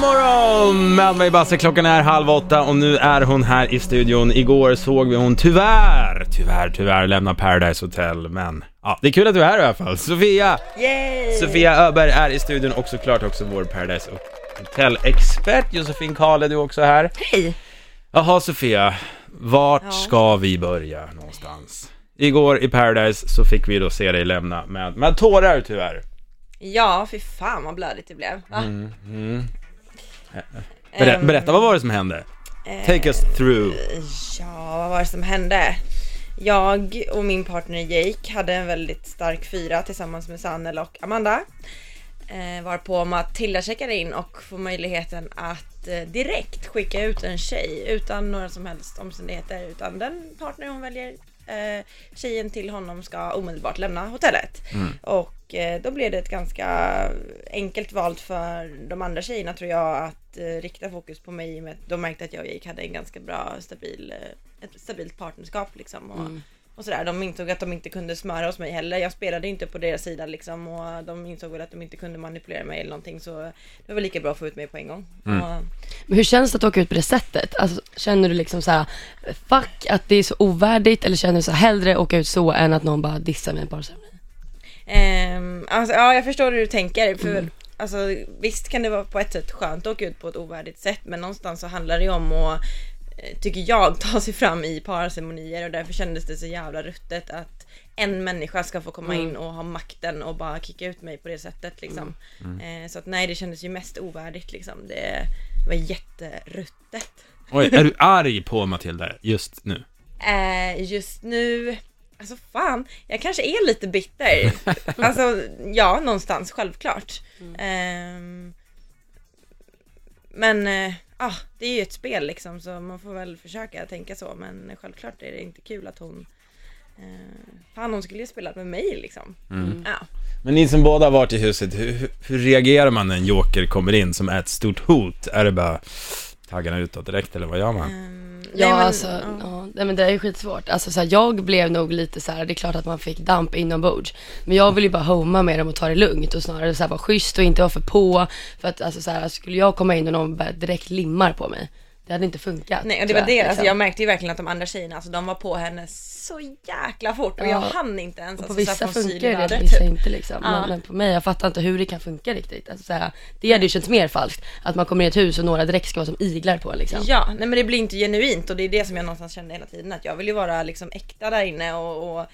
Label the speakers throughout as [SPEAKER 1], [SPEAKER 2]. [SPEAKER 1] morgon! Med mig Basse, klockan är halv åtta och nu är hon här i studion. Igår såg vi hon tyvärr, tyvärr, tyvärr lämna Paradise Hotel, men ja, det är kul att du är här i alla fall. Sofia!
[SPEAKER 2] Yay!
[SPEAKER 1] Sofia Öberg är i studion och såklart också vår Paradise Hotel-expert Josefin Kahle, du är också här.
[SPEAKER 2] Hej!
[SPEAKER 1] Jaha Sofia, vart
[SPEAKER 2] Ja.
[SPEAKER 1] ska vi börja någonstans? Igår i Paradise så fick vi då se dig lämna med, med tårar tyvärr.
[SPEAKER 2] Ja, fy fan vad blödigt det blev. Va?
[SPEAKER 1] Berä,
[SPEAKER 2] Ehm, Eh,
[SPEAKER 1] berätta, vad var det som hände? Take us through.
[SPEAKER 2] Ja, vad var det som hände? Jag och min partner Jake hade en väldigt stark fyra tillsammans med Sanel och Amanda. Eh, varpå Matilda checkar in och får möjligheten att eh, direkt skicka ut en tjej utan några som helst omständigheter. Utan den partner hon väljer, eh, tjejen till honom ska omedelbart lämna hotellet. Och eh, då blev det ett ganska enkelt val för de andra tjejerna tror jag att eh, rikta fokus på mig. i och Med att de märkte att jag och Jake hade en ganska bra stabil, eh, ett stabilt partnerskap liksom. Och, och sådär. De insåg att de inte kunde smöra hos mig heller. Jag spelade inte på deras sida liksom och de insåg väl att de inte kunde manipulera mig eller någonting så det var lika bra att få ut mig på en gång. Och,
[SPEAKER 3] Men hur känns det att åka ut på det sättet? Alltså, känner du liksom så här, fuck att det är så ovärdigt eller känner du så här, hellre åka ut så än att någon bara dissar mig på ceremoni?
[SPEAKER 2] ehm, alltså, ja, jag förstår hur du tänker. För, alltså, visst kan det vara på ett sätt skönt att åka ut på ett ovärdigt sätt men någonstans så handlar det ju om att eh, tycker jag, ta sig fram i parceremonier och därför kändes det så jävla ruttet att en människa ska få komma in och ha makten och bara kicka ut mig på det sättet liksom. Eh, så att nej, det kändes ju mest ovärdigt liksom. Det var jätteruttet.
[SPEAKER 1] Oj, är du arg på Matilda just nu?
[SPEAKER 2] Eh, just nu, alltså fan, jag kanske är lite bitter. alltså ja, någonstans, självklart. Ehm, men eh, ah, det är ju ett spel liksom så man får väl försöka tänka så men självklart är det inte kul att hon eh, Fan hon skulle ju spela med mig liksom. Ja.
[SPEAKER 1] Men ni som båda har varit i huset, hur, hur- hur reagerar man när en joker kommer in som är ett stort hot? Är det bara taggarna utåt direkt eller vad gör man?
[SPEAKER 3] Mm,
[SPEAKER 2] Ehm, nej,
[SPEAKER 3] Ja,
[SPEAKER 2] men-
[SPEAKER 3] alltså,
[SPEAKER 2] ja.
[SPEAKER 3] ja, nej, men det är ju skitsvårt. Alltså, så här, jag blev nog lite så här, det är klart att man fick damp inombords, men jag ville ju bara homa med dem och ta det lugnt och snarare så här, vara schysst och inte vara för på. För att alltså, så här, skulle jag komma in och någon bara direkt limmar på mig, det hade inte funkat.
[SPEAKER 2] Nej och det
[SPEAKER 3] tror
[SPEAKER 2] var
[SPEAKER 3] jag,
[SPEAKER 2] det, alltså,
[SPEAKER 3] liksom.
[SPEAKER 2] jag märkte ju verkligen att de andra tjejerna, alltså de var på henne så jäkla fort och jag
[SPEAKER 3] Ja.
[SPEAKER 2] hann inte ens.
[SPEAKER 3] På
[SPEAKER 2] alltså, så att
[SPEAKER 3] vissa
[SPEAKER 2] hon syr i
[SPEAKER 3] funkar det,
[SPEAKER 2] vädret,
[SPEAKER 3] på vissa
[SPEAKER 2] typ.
[SPEAKER 3] inte liksom. Men, men på mig, jag fattar inte hur det kan funka riktigt. Alltså, så här, det hade ju känts mer falskt. Att man kommer in i ett hus och några direkt ska vara som iglar på en, liksom.
[SPEAKER 2] Ja, nej men det blir inte genuint och det är det som jag någonstans kände hela tiden att jag vill ju vara liksom äkta där inne och, och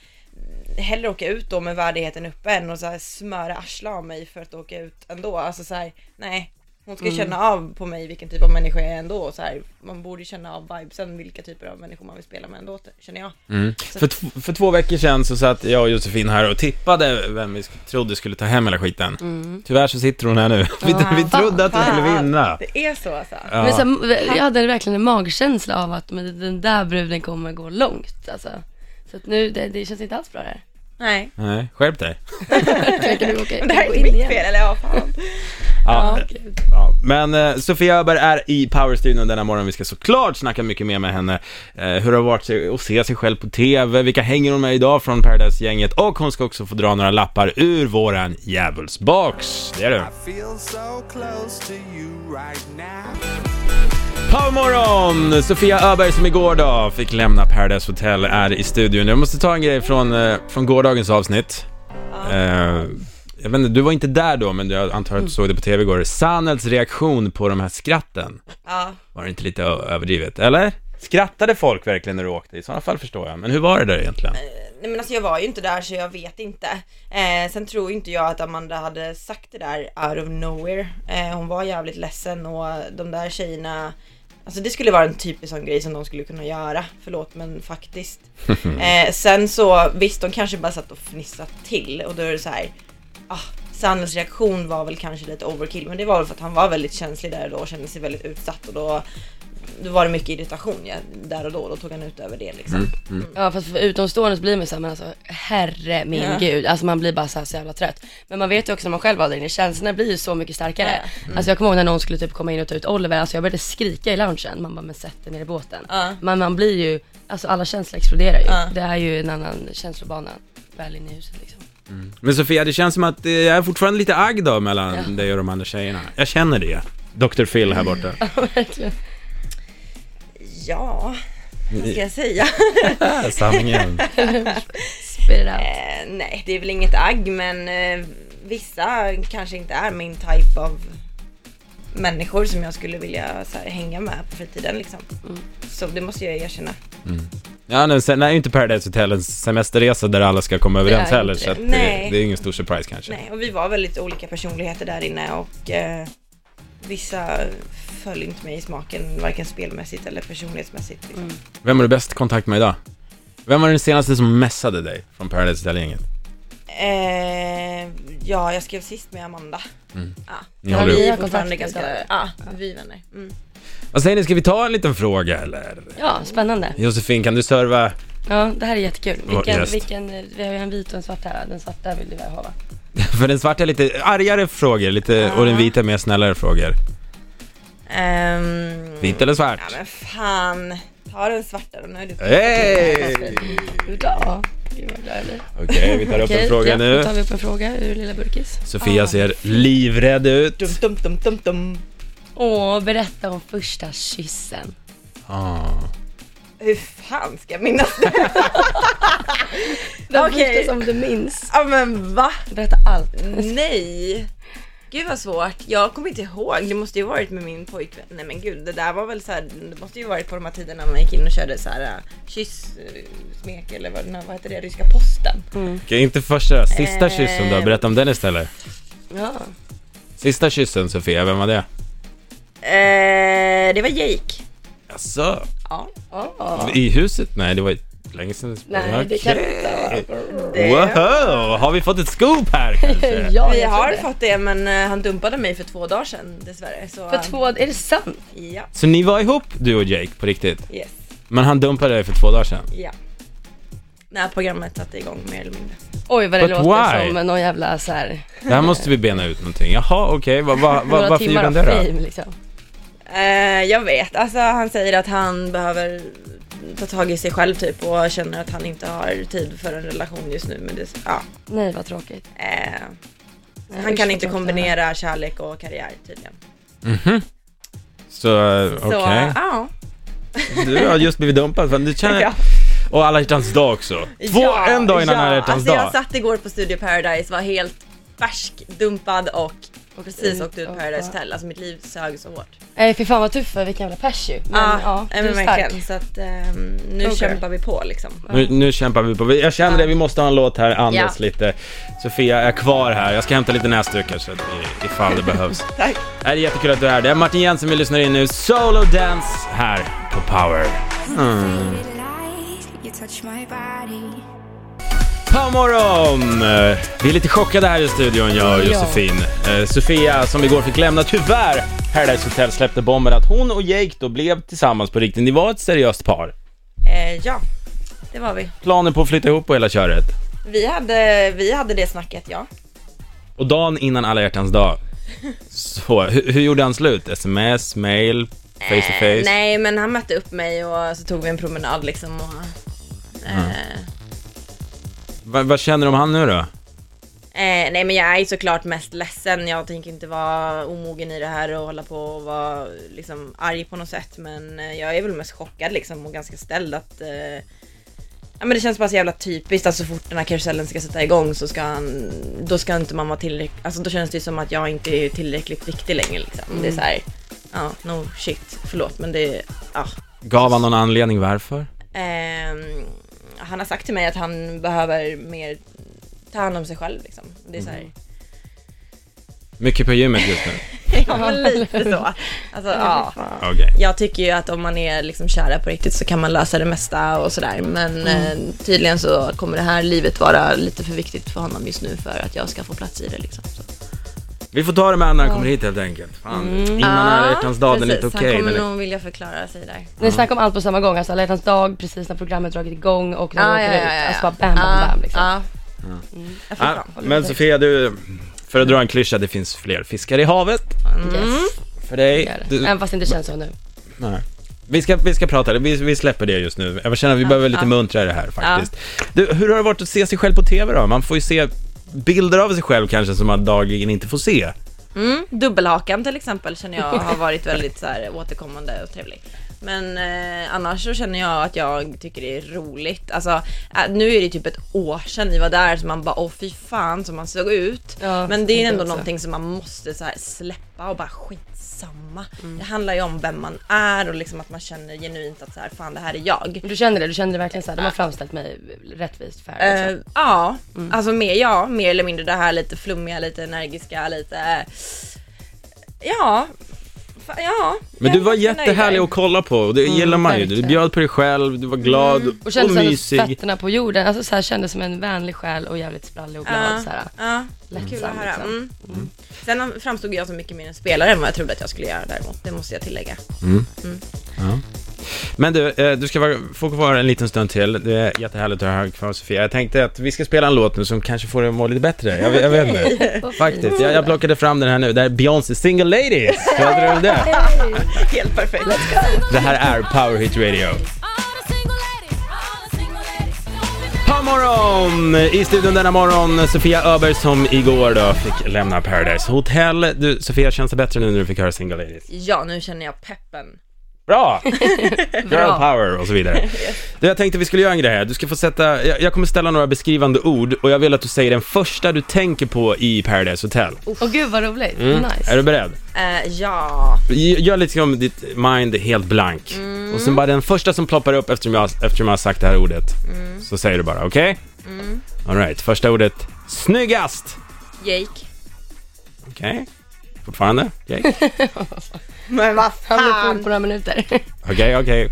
[SPEAKER 2] hellre åka ut då med värdigheten uppe än att så här smöra arsla av mig för att åka ut ändå. Alltså så här, nej. Hon ska
[SPEAKER 1] Mm.
[SPEAKER 2] känna av på mig vilken typ av människa jag är ändå och så här, man borde känna av vibesen vilka typer av människor man vill spela med ändå känner jag.
[SPEAKER 1] För, tv- för två veckor sedan så satt jag och Josefin här och tippade vem vi sk- trodde skulle ta hem hela skiten.
[SPEAKER 3] Mm.
[SPEAKER 1] Tyvärr så sitter hon här nu. Vi, vi trodde att hon skulle vinna.
[SPEAKER 2] Det är så alltså.
[SPEAKER 1] Ja.
[SPEAKER 3] Men så här, jag hade verkligen en magkänsla av att men, den där bruden kommer gå långt. Alltså. Så att nu, det, det känns inte alls bra det här.
[SPEAKER 2] Nej.
[SPEAKER 1] Nej, skärp dig.
[SPEAKER 3] Försöker du åka,
[SPEAKER 2] Det här
[SPEAKER 3] gå
[SPEAKER 2] är
[SPEAKER 3] in
[SPEAKER 2] mitt
[SPEAKER 3] igen?
[SPEAKER 2] fel eller ja fan.
[SPEAKER 1] Ja,
[SPEAKER 3] Ja, gud.
[SPEAKER 1] ja. Men eh, Sofia Öberg är i Powerstudion denna morgon. Vi ska såklart snacka mycket mer med henne. Eh, hur det har varit sig- att se sig själv på TV, vilka hänger hon med idag från Paradise-gänget och hon ska också få dra några lappar ur våran djävulsbox. Det är du.
[SPEAKER 4] Feel so close to you right now.
[SPEAKER 1] Powermorgon! Sofia Öberg som igår då fick lämna Paradise Hotel är i studion. Jag måste ta en grej från, eh, från gårdagens avsnitt. Eh, jag vet inte, du var inte där då, men jag antar att du såg det på TV igår. Sanels reaktion på de här skratten.
[SPEAKER 2] Ja.
[SPEAKER 1] Var det inte lite ö- överdrivet, eller? Skrattade folk verkligen när du åkte? I sådana fall förstår jag. Men hur var det där egentligen?
[SPEAKER 2] Nej men alltså jag var ju inte där så jag vet inte. Eh, sen tror inte jag att Amanda hade sagt det där out of nowhere. Eh, hon var jävligt ledsen och de där tjejerna Alltså det skulle vara en typisk sån grej som de skulle kunna göra, förlåt men faktiskt. Eh, sen så visst, de kanske bara satt och fnissade till och då är det så här. Ah, Sanders reaktion var väl kanske lite overkill men det var väl för att han var väldigt känslig där och då och kände sig väldigt utsatt och då, då var det mycket irritation ja, där och då, då tog han ut över det liksom.
[SPEAKER 3] Ja fast för utomstående så blir man såhär, men alltså herre min
[SPEAKER 2] Ja.
[SPEAKER 3] gud, alltså man blir bara såhär så jävla trött. Men man vet ju också när man själv var där inne, känslorna blir ju så mycket starkare.
[SPEAKER 2] Mm.
[SPEAKER 3] Alltså jag kommer ihåg när någon skulle typ komma in och ta ut Oliver, alltså jag började skrika i loungen, man bara men sätt dig ner i båten.
[SPEAKER 2] Ja.
[SPEAKER 3] Men man blir ju, alltså alla känslor exploderar ju.
[SPEAKER 2] Ja.
[SPEAKER 3] Det är ju en annan känslobana väl inne i huset liksom.
[SPEAKER 1] eh, Men Sofia, det känns som att det är fortfarande lite agg då mellan dig och de andra tjejerna. Jag känner det. Dr. Phil här borta.
[SPEAKER 3] Verkligen.
[SPEAKER 2] Ja, vad ska jag säga?
[SPEAKER 1] Sanningen.
[SPEAKER 3] Spit it out.
[SPEAKER 2] Eh, nej, det är väl inget agg men eh, vissa kanske inte är min type av människor som jag skulle vilja så här, hänga med på fritiden liksom. Så det måste jag erkänna.
[SPEAKER 1] Ja, men sen är ju inte Paradise Hotel en semesterresa där alla ska komma överens
[SPEAKER 3] Det är
[SPEAKER 1] heller,
[SPEAKER 3] inte
[SPEAKER 1] så
[SPEAKER 3] det.
[SPEAKER 1] att det,
[SPEAKER 2] Nej.
[SPEAKER 1] det är ingen stor surprise kanske.
[SPEAKER 2] Nej, och vi var väldigt olika personligheter där inne och eh, vissa föll inte mig i smaken varken spelmässigt eller personlighetsmässigt. Liksom.
[SPEAKER 3] Mm.
[SPEAKER 1] Vem har du bäst kontakt med idag? Vem var den senaste som messade dig från Paradise Hotel-gänget?
[SPEAKER 2] Eh, ja, jag skrev sist med Amanda. Ja.
[SPEAKER 1] Ni håller
[SPEAKER 3] vi-
[SPEAKER 1] ihop.
[SPEAKER 2] Vi är
[SPEAKER 3] har
[SPEAKER 2] fortfarande
[SPEAKER 3] kontakt
[SPEAKER 2] ganska...
[SPEAKER 3] idag.
[SPEAKER 2] Ja, vi är vänner. Mm.
[SPEAKER 1] Vad säger ni, ska vi ta en liten fråga eller?
[SPEAKER 3] Ja, spännande.
[SPEAKER 1] Josefin, kan du serva?
[SPEAKER 3] Ja, det här är jättekul.
[SPEAKER 1] Vår
[SPEAKER 3] Vilken,
[SPEAKER 1] gäst.
[SPEAKER 3] vilken, eh, vi har ju en vit och en svart här. Den svarta vill du väl ha va?
[SPEAKER 1] För den svarta är lite argare frågor, lite, och den vita är mer snällare frågor.
[SPEAKER 2] Ehm,
[SPEAKER 1] Vitt eller svart?
[SPEAKER 2] Ja men fan, ta den svarta då, nu är du
[SPEAKER 1] Hej!
[SPEAKER 3] Hurra! Gud vad glad jag blir.
[SPEAKER 1] Okej, vi tar upp en
[SPEAKER 3] Okej,
[SPEAKER 1] fråga
[SPEAKER 3] ja,
[SPEAKER 1] nu.
[SPEAKER 3] Då tar vi upp en fråga ur lilla Burkis.
[SPEAKER 1] Sofia ser livrädd ut.
[SPEAKER 2] Dum, dum, dum, dum, dum.
[SPEAKER 3] Åh, berätta om första kyssen.
[SPEAKER 1] Ah.
[SPEAKER 2] Hur fan ska jag minnas det?
[SPEAKER 3] Den
[SPEAKER 2] Okej.
[SPEAKER 3] första som du minns.
[SPEAKER 2] Ja men va?
[SPEAKER 3] Berätta allt.
[SPEAKER 2] Nej. Gud vad svårt. Jag kommer inte ihåg. Det måste ju varit med min pojkvän. Nej men gud, det där var väl så här. Det måste ju varit på de här tiderna man gick in och körde så här äh, kyss, äh, smek eller vad, nej, vad heter det, ryska posten.
[SPEAKER 1] Okej, inte första, sista
[SPEAKER 2] Eh.
[SPEAKER 1] kyssen då. Berätta om den istället.
[SPEAKER 3] Ja.
[SPEAKER 1] Sista kyssen Sofia, vem var det?
[SPEAKER 2] Eh, det var Jake.
[SPEAKER 1] Jaså?
[SPEAKER 2] Ja.
[SPEAKER 3] Åh.
[SPEAKER 1] I huset? Nej, det var länge sedan.
[SPEAKER 3] Nej, det kan inte
[SPEAKER 2] Det.
[SPEAKER 1] Wow, har vi fått ett scoop här kanske?
[SPEAKER 3] vara. Ja,
[SPEAKER 2] Vi
[SPEAKER 3] jag
[SPEAKER 2] har
[SPEAKER 3] tror det.
[SPEAKER 2] fått det men eh, han dumpade mig för två dagar sedan dessvärre. Så,
[SPEAKER 3] För två, är det sant?
[SPEAKER 2] Ja,
[SPEAKER 1] Så ni var ihop, du och Jake, på riktigt?
[SPEAKER 2] yes.
[SPEAKER 1] Men han dumpade dig för två dagar sedan?
[SPEAKER 2] Ja. När programmet satte igång mer eller mindre.
[SPEAKER 3] Oj vad det
[SPEAKER 1] But
[SPEAKER 3] låter
[SPEAKER 1] why?
[SPEAKER 3] som någon jävla såhär,
[SPEAKER 1] Det här måste vi bena ut någonting. Jaha, okej, va, va, va,
[SPEAKER 3] några
[SPEAKER 1] varför gjorde
[SPEAKER 3] timmar
[SPEAKER 1] han
[SPEAKER 3] av
[SPEAKER 1] det då?
[SPEAKER 3] fame liksom.
[SPEAKER 2] Eh, jag vet, alltså han säger att han behöver ta tag i sig själv typ och känner att han inte har tid för en relation just nu men det, ja.
[SPEAKER 3] Nej vad tråkigt.
[SPEAKER 2] Eh,
[SPEAKER 3] Nej,
[SPEAKER 2] han kan
[SPEAKER 3] usch, vad
[SPEAKER 2] inte
[SPEAKER 3] tråkigt.
[SPEAKER 2] kombinera kärlek och karriär tydligen.
[SPEAKER 1] Så, eh,
[SPEAKER 2] Så,
[SPEAKER 1] okej.
[SPEAKER 2] ja.
[SPEAKER 1] Du har just blivit dumpad, fan, du känner...
[SPEAKER 2] Ja.
[SPEAKER 1] Och alla hjärtans dag också. Två,
[SPEAKER 2] Ja,
[SPEAKER 1] en dag innan
[SPEAKER 2] ja.
[SPEAKER 1] alla hjärtans
[SPEAKER 2] alltså,
[SPEAKER 1] dag.
[SPEAKER 2] jag satt igår på Studio Paradise, var helt färsk, dumpad och, och precis
[SPEAKER 3] ut
[SPEAKER 2] åkte ut
[SPEAKER 3] och
[SPEAKER 2] Paradise
[SPEAKER 3] bara-
[SPEAKER 2] Hotel. Alltså mitt liv sög så hårt.
[SPEAKER 3] Nej fy fan vad tuff för vilken jävla pers ju. Ah, Men
[SPEAKER 2] Ja,
[SPEAKER 3] ja,
[SPEAKER 2] nej,
[SPEAKER 3] du
[SPEAKER 2] men
[SPEAKER 3] är stark.
[SPEAKER 2] verkligen. Så att ehm, nu
[SPEAKER 3] Okej.
[SPEAKER 2] kämpar vi på liksom.
[SPEAKER 1] Nu, nu kämpar vi på. Jag känner det, vi måste ha en låt här, andas
[SPEAKER 2] Ja.
[SPEAKER 1] lite. Sofia är kvar här, jag ska hämta lite näsdukar så att i- ifall det behövs.
[SPEAKER 2] Tack.
[SPEAKER 1] Det är jättekul att du är här. Det är Martin Jensen vi lyssnar in nu. Solo Dance här på Power. Mm.
[SPEAKER 5] Faded light, You touch my body.
[SPEAKER 1] Powermorgon! Eh, Vi är lite chockade här i studion, jag och Josefin. Eh, Sofia, som igår fick lämna, tyvärr, Paradise Hotel släppte bomben att hon och Jake då blev tillsammans på riktigt. Ni var ett seriöst par.
[SPEAKER 2] Eh, ja, det var vi.
[SPEAKER 1] Planen på att flytta ihop och hela köret.
[SPEAKER 2] Vi hade, vi hade det snacket ja.
[SPEAKER 1] Och dagen innan alla hjärtans dag. Så, hur, hur gjorde han slut? Sms, mail, face to face?
[SPEAKER 2] Eh, nej men han mötte upp mig och så tog vi en promenad liksom och... Eh,
[SPEAKER 1] Va, vad känner du om han nu då?
[SPEAKER 2] eh, nej men jag är ju såklart mest ledsen. Jag tänker inte vara omogen i det här och hålla på och vara liksom arg på något sätt. Men eh, jag är väl mest chockad liksom och ganska ställd att... Eh, Ja men det känns bara så jävla typiskt att så fort den här karusellen ska sätta igång så ska han, då ska inte man vara tillräckligt, alltså då känns det ju som att jag inte är tillräckligt viktig längre liksom. Det är såhär, ja no shit, förlåt men det, ja.
[SPEAKER 1] Gav han någon anledning varför?
[SPEAKER 2] Ehm, han har sagt till mig att han behöver mer ta hand om sig själv liksom. Det är så här,
[SPEAKER 1] Mycket på gymmet just nu.
[SPEAKER 2] ja men lite så. Alltså, ja.
[SPEAKER 1] Okej.
[SPEAKER 2] Jag tycker ju att om man är liksom kära på riktigt så kan man lösa det mesta och sådär. Men eh, tydligen så kommer det här livet vara lite för viktigt för honom just nu för att jag ska få plats i det liksom. Så.
[SPEAKER 1] Vi får ta det med han när han kommer hit helt enkelt. Fan.
[SPEAKER 2] Mm.
[SPEAKER 1] Innan alla hjärtans dag, den är inte okej.
[SPEAKER 2] Han
[SPEAKER 1] den
[SPEAKER 2] kommer
[SPEAKER 1] är-
[SPEAKER 2] nog vilja förklara sig där.
[SPEAKER 3] Ni snackar om allt på samma gång, alltså alla hjärtans dag, precis när programmet dragit igång och när de åker ut. Alltså bara bam, bam, bam liksom.
[SPEAKER 2] Ja. Jag får
[SPEAKER 1] Ah,
[SPEAKER 2] fram.
[SPEAKER 1] men Sofia, du, för att dra en klyscha, det finns fler fiskar i havet.
[SPEAKER 3] Yes,
[SPEAKER 1] För
[SPEAKER 3] det
[SPEAKER 1] dig.
[SPEAKER 3] gör det.
[SPEAKER 1] Du,
[SPEAKER 3] Även fast det inte känns så nu.
[SPEAKER 1] nej. Vi ska, vi ska prata, vi, vi släpper det just nu. Jag känner att vi behöver lite muntra det här faktiskt. Du, hur har det varit att se sig själv på TV då? Man får ju se bilder av sig själv kanske som man dagligen inte får se.
[SPEAKER 2] Mm, dubbelhakan till exempel känner jag har varit väldigt så här, återkommande och trevlig. Men eh, annars så känner jag att jag tycker det är roligt. Alltså, eh, nu är det typ ett år sedan ni var där så man bara åh fy fan som man såg ut.
[SPEAKER 3] Ja,
[SPEAKER 2] Men det är
[SPEAKER 3] tänkte
[SPEAKER 2] ändå
[SPEAKER 3] jag också.
[SPEAKER 2] någonting som man måste så här, släppa och bara skitsamma.
[SPEAKER 3] Mm.
[SPEAKER 2] Det handlar ju om vem man är och liksom att man känner genuint att så här, fan det här är jag.
[SPEAKER 3] Du kände det, du kände det verkligen såhär, de har framställt mig rättvist fair
[SPEAKER 2] Eh,
[SPEAKER 3] liksom.
[SPEAKER 2] ja, alltså mer ja, mer eller mindre det här lite flummiga, lite energiska, lite... eh, Ja, fa- ja.
[SPEAKER 1] Men du
[SPEAKER 2] jag
[SPEAKER 1] var
[SPEAKER 2] är nöjd
[SPEAKER 1] jättehärlig
[SPEAKER 2] där.
[SPEAKER 1] att kolla på och det gillar man ju. Du
[SPEAKER 3] Mm, verkligen. Mm,
[SPEAKER 1] bjöd på dig själv, du var glad
[SPEAKER 3] Och
[SPEAKER 1] och
[SPEAKER 3] kände såhär
[SPEAKER 1] mysig.
[SPEAKER 3] fötterna på jorden, alltså såhär kändes som en vänlig själ och jävligt sprallig och glad
[SPEAKER 2] Ja,
[SPEAKER 3] såhär.
[SPEAKER 2] ja. Kul att
[SPEAKER 3] Lättsam
[SPEAKER 2] höra.
[SPEAKER 3] liksom.
[SPEAKER 2] Mm. Sen framstod jag som mycket mer en spelare än vad jag trodde att jag skulle göra däremot. Det måste jag tillägga.
[SPEAKER 1] Men du, eh, du ska vara, få vara en liten stund till. Det är jättehärligt att ha dig kvar Sofia. Jag tänkte att vi ska spela en låt nu som kanske får dig att må lite bättre. Jag, vet- jag vet inte. Faktiskt. Jag, jag plockade fram den här nu. Det här är Beyoncé Single Ladies. Vad tror du om det?
[SPEAKER 2] Helt perfekt.
[SPEAKER 1] Det här är Power Hit Radio. morgon! I studion denna morgon, Sofia Öberg som igår då fick lämna Paradise Hotel. Du, Sofia, känns det bättre nu när du fick höra Single Ladies?
[SPEAKER 2] Ja, nu känner jag peppen.
[SPEAKER 1] Bra! Girl power och så vidare. Du, jag tänkte vi skulle göra en grej här. Du ska få sätta, jag, jag kommer ställa några beskrivande ord och jag vill att du säger den första du tänker på i Paradise Hotel.
[SPEAKER 2] Mm.
[SPEAKER 1] Mm.
[SPEAKER 3] Och gud vad roligt, Oh, nice.
[SPEAKER 1] Är du beredd?
[SPEAKER 2] Eh, ja,
[SPEAKER 1] G- Gör lite som ditt mind är helt blank. Och sen bara den första som ploppar upp eftersom jag, eftersom jag har sagt det här ordet. Så säger du bara, okej? Alright, första ordet. Snyggast!
[SPEAKER 2] Jake.
[SPEAKER 1] Okej. Fortfarande? Okej, okej,
[SPEAKER 2] Men vad
[SPEAKER 3] Han blev full på några minuter.
[SPEAKER 1] okej.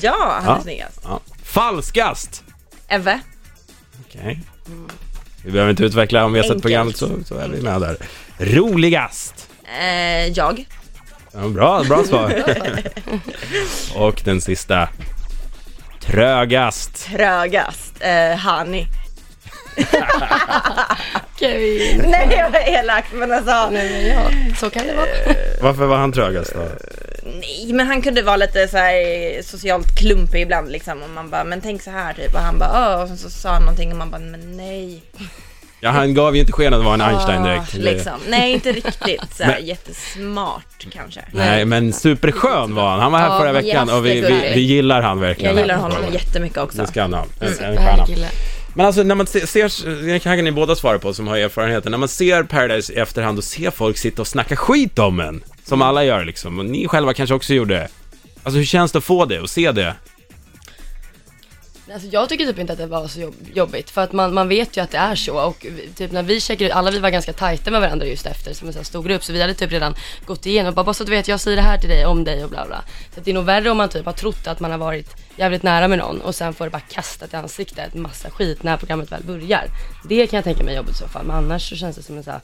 [SPEAKER 2] Ja, han är
[SPEAKER 1] Ja.
[SPEAKER 2] snyggast.
[SPEAKER 1] Ja. Falskast!
[SPEAKER 2] Eve.
[SPEAKER 1] Okej. Vi behöver inte utveckla, om vi har sett
[SPEAKER 2] Enkelt.
[SPEAKER 1] programmet så, så är vi med där. Roligast!
[SPEAKER 2] Eh, jag.
[SPEAKER 1] Ja, bra, bra svar. Och den sista. Trögast.
[SPEAKER 2] Trögast. Eh, Hani.
[SPEAKER 3] Okej, vi-
[SPEAKER 2] Nej, det var elakt men alltså.
[SPEAKER 3] Nej men ja, så kan det vara.
[SPEAKER 2] Eh,
[SPEAKER 1] Varför var han trögast då?
[SPEAKER 2] Nej, men han kunde vara lite så här socialt klumpig ibland liksom och man bara men tänk så här typ och han bara "Åh", och sen så sa han någonting och man bara men nej.
[SPEAKER 1] Ja, han gav ju inte sken att vara en Einstein direkt.
[SPEAKER 2] Ah, liksom. Nej inte riktigt så här,
[SPEAKER 1] Men-
[SPEAKER 2] jättesmart kanske.
[SPEAKER 1] Eh, Nej, men superskön var han. Han var här
[SPEAKER 3] Ja,
[SPEAKER 1] förra
[SPEAKER 3] men
[SPEAKER 1] veckan och vi, vi,
[SPEAKER 3] jättegullig.
[SPEAKER 1] vi gillar han verkligen.
[SPEAKER 2] Jag gillar honom jättemycket också.
[SPEAKER 1] Det ska han ha. En, en stjärna.
[SPEAKER 3] Härlig kille.
[SPEAKER 1] Men alltså när man se- ser, det kan ni båda svara på som har erfarenheten, när man ser Paradise i efterhand och ser folk sitta och snacka skit om en, som alla gör liksom, och ni själva kanske också gjorde. Alltså hur känns det att få det och se det?
[SPEAKER 3] Alltså jag tycker typ inte att det var så jobb, jobbigt för att man, man vet ju att det är så och vi- typ när vi checkade ut, alla vi var ganska tajta med varandra just efter som en sån här stor grupp så vi hade typ redan gått igenom bara, bara så att du vet jag säger det här till dig om dig och bla bla. Så att det är nog värre om man typ har trott att man har varit jävligt nära med någon och sen får det bara kastat i ansiktet massa skit när programmet väl börjar. Det kan jag tänka mig är jobbigt i så fall men annars så känns det som en så här,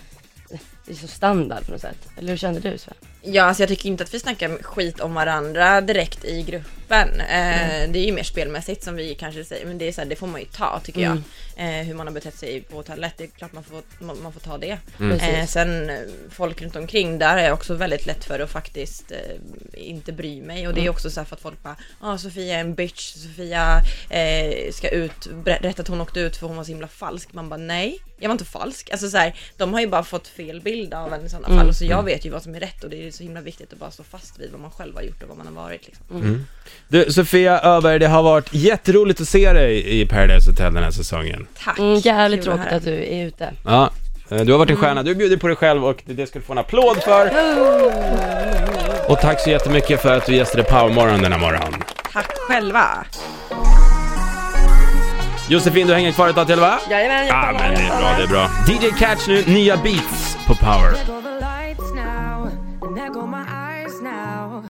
[SPEAKER 3] det är så standard på något sätt. Eller hur kände du Sven?
[SPEAKER 2] Ja, alltså jag tycker inte att vi snackar skit om varandra direkt i gruppen. Eh,
[SPEAKER 1] Mm.
[SPEAKER 2] Det är ju mer spelmässigt som vi kanske säger, men det, är så här, det får man ju ta tycker jag.
[SPEAKER 1] Mm.
[SPEAKER 2] Eh, hur man har betett sig på hotellet, det är klart man får, man, man får ta det. Eh,
[SPEAKER 3] Precis.
[SPEAKER 2] sen eh, folk runt omkring, där är jag också väldigt lätt för att faktiskt eh, inte bry mig. Och det
[SPEAKER 3] Mm.
[SPEAKER 2] är också så här för att folk bara, ah, Sofia är en bitch, Sofia eh, ska ut, berätta att hon åkte ut för hon var så himla falsk. Man bara nej, jag var inte falsk. Alltså så här, de har ju bara fått fel bild av en i sådana
[SPEAKER 3] Mm.
[SPEAKER 2] fall. Och så jag vet ju vad som är rätt och det är så himla viktigt att bara stå fast vid vad man själv har gjort och vad man har varit liksom.
[SPEAKER 3] Mm.
[SPEAKER 1] Du Sofia Öberg, det har varit jätteroligt att se dig i Paradise Hotel den här säsongen.
[SPEAKER 2] Tack!
[SPEAKER 3] Mm, jävligt
[SPEAKER 2] Kul att
[SPEAKER 3] tråkigt
[SPEAKER 2] höra.
[SPEAKER 3] att du är ute.
[SPEAKER 1] Ja, eh, du har varit en stjärna, du bjuder på dig själv och det ska du få en applåd för. Och tack så jättemycket för att du gästade Powermorgon denna morgon.
[SPEAKER 2] Tack själva!
[SPEAKER 1] Josefin, du hänger kvar ett tag till va?
[SPEAKER 2] Jajamän, jag
[SPEAKER 1] Ja, men det är bra, det är bra. DJ Catch nu, nya beats på Power.
[SPEAKER 6] There go the lights now, and there go my